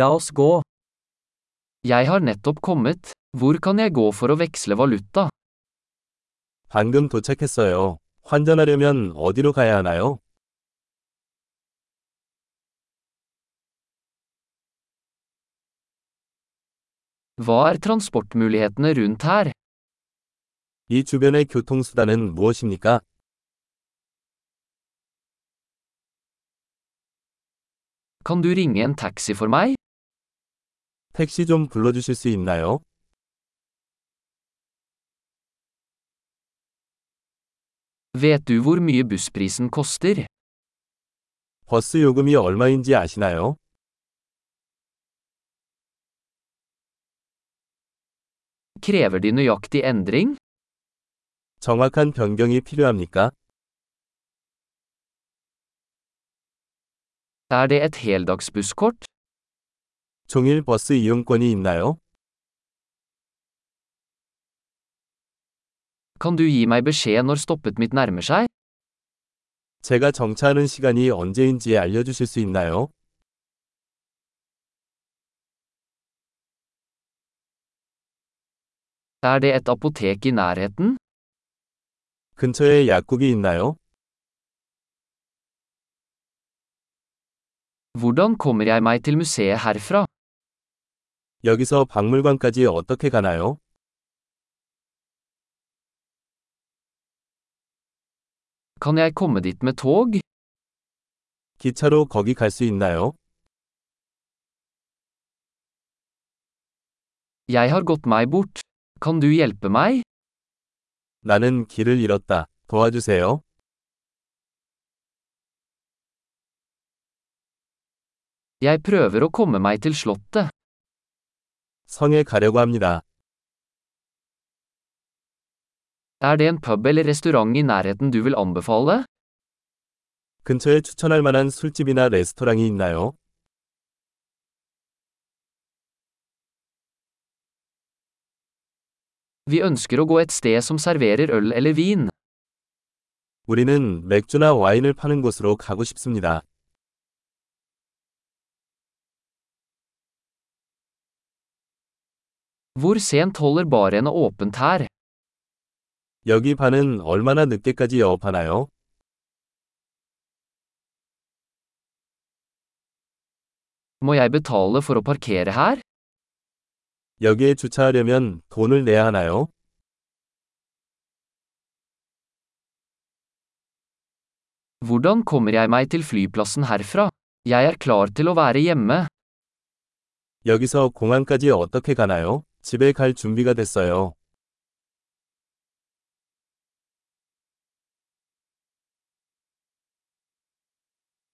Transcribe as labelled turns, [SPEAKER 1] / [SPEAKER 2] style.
[SPEAKER 1] La oss gå. Jeg har nettopp kommet. Hvor kan jeg gå for å veksle valuta?
[SPEAKER 2] 방금 도착했어요. 환전하려면 어디로 가야 하나요?
[SPEAKER 1] Hva er transportmulighetene rundt her?
[SPEAKER 2] 이 주변의 교통수단은 무엇입니까?
[SPEAKER 1] Kan du ringe en taxi for meg?
[SPEAKER 2] 택시 좀 불러주실 수 있나요?
[SPEAKER 1] Vet du hvor mye bussprisen koster?
[SPEAKER 2] 버스 요금이 얼마인지 아시나요?
[SPEAKER 1] Krever de nøyaktig endring?
[SPEAKER 2] 정확한 변경이 필요합니까?
[SPEAKER 1] Er det et heldagsbusskort?
[SPEAKER 2] 종일 버스 이용권이 있나요?
[SPEAKER 1] Kan du gi meg beskjed når stoppet mitt nærmer seg?
[SPEAKER 2] 제가 정차하는 시간이 언제인지 알려주실 수 있나요?
[SPEAKER 1] Er det et apotek i nærheten?
[SPEAKER 2] 근처에 약국이 있나요?
[SPEAKER 1] Hvordan kommer jeg meg til museet herfra?
[SPEAKER 2] 여기서 박물관까지 어떻게 가나요?
[SPEAKER 1] Kan jeg komme dit med tog?
[SPEAKER 2] 기차로 거기 갈 수 있나요?
[SPEAKER 1] Jeg har gått meg bort. Kan du hjelpe meg?
[SPEAKER 2] 나는 길을 잃었다. 도와주세요.
[SPEAKER 1] Jeg prøver å komme meg til slottet.
[SPEAKER 2] 성에 가려고 합니다.
[SPEAKER 1] Er det en pub eller restaurant i nærheten du vil anbefale?
[SPEAKER 2] 근처에 추천할 만한 술집이나 레스토랑이 있나요?
[SPEAKER 1] Vi ønsker å gå et sted som serverer øl eller vin.
[SPEAKER 2] 우리는 맥주나 와인을 파는 곳으로 가고 싶습니다.
[SPEAKER 1] Hvor sent holder barene åpent her?
[SPEAKER 2] 여기 반은 얼마나 늦게까지 영업하나요?
[SPEAKER 1] Må jeg betale for å parkere her?
[SPEAKER 2] 여기에 주차하려면 돈을 내야 하나요?
[SPEAKER 1] Hvordan kommer jeg meg til flyplassen herfra? Jeg er klar til å være hjemme.
[SPEAKER 2] 여기서 공항까지 어떻게 가나요? 집에 갈 준비가 됐어요.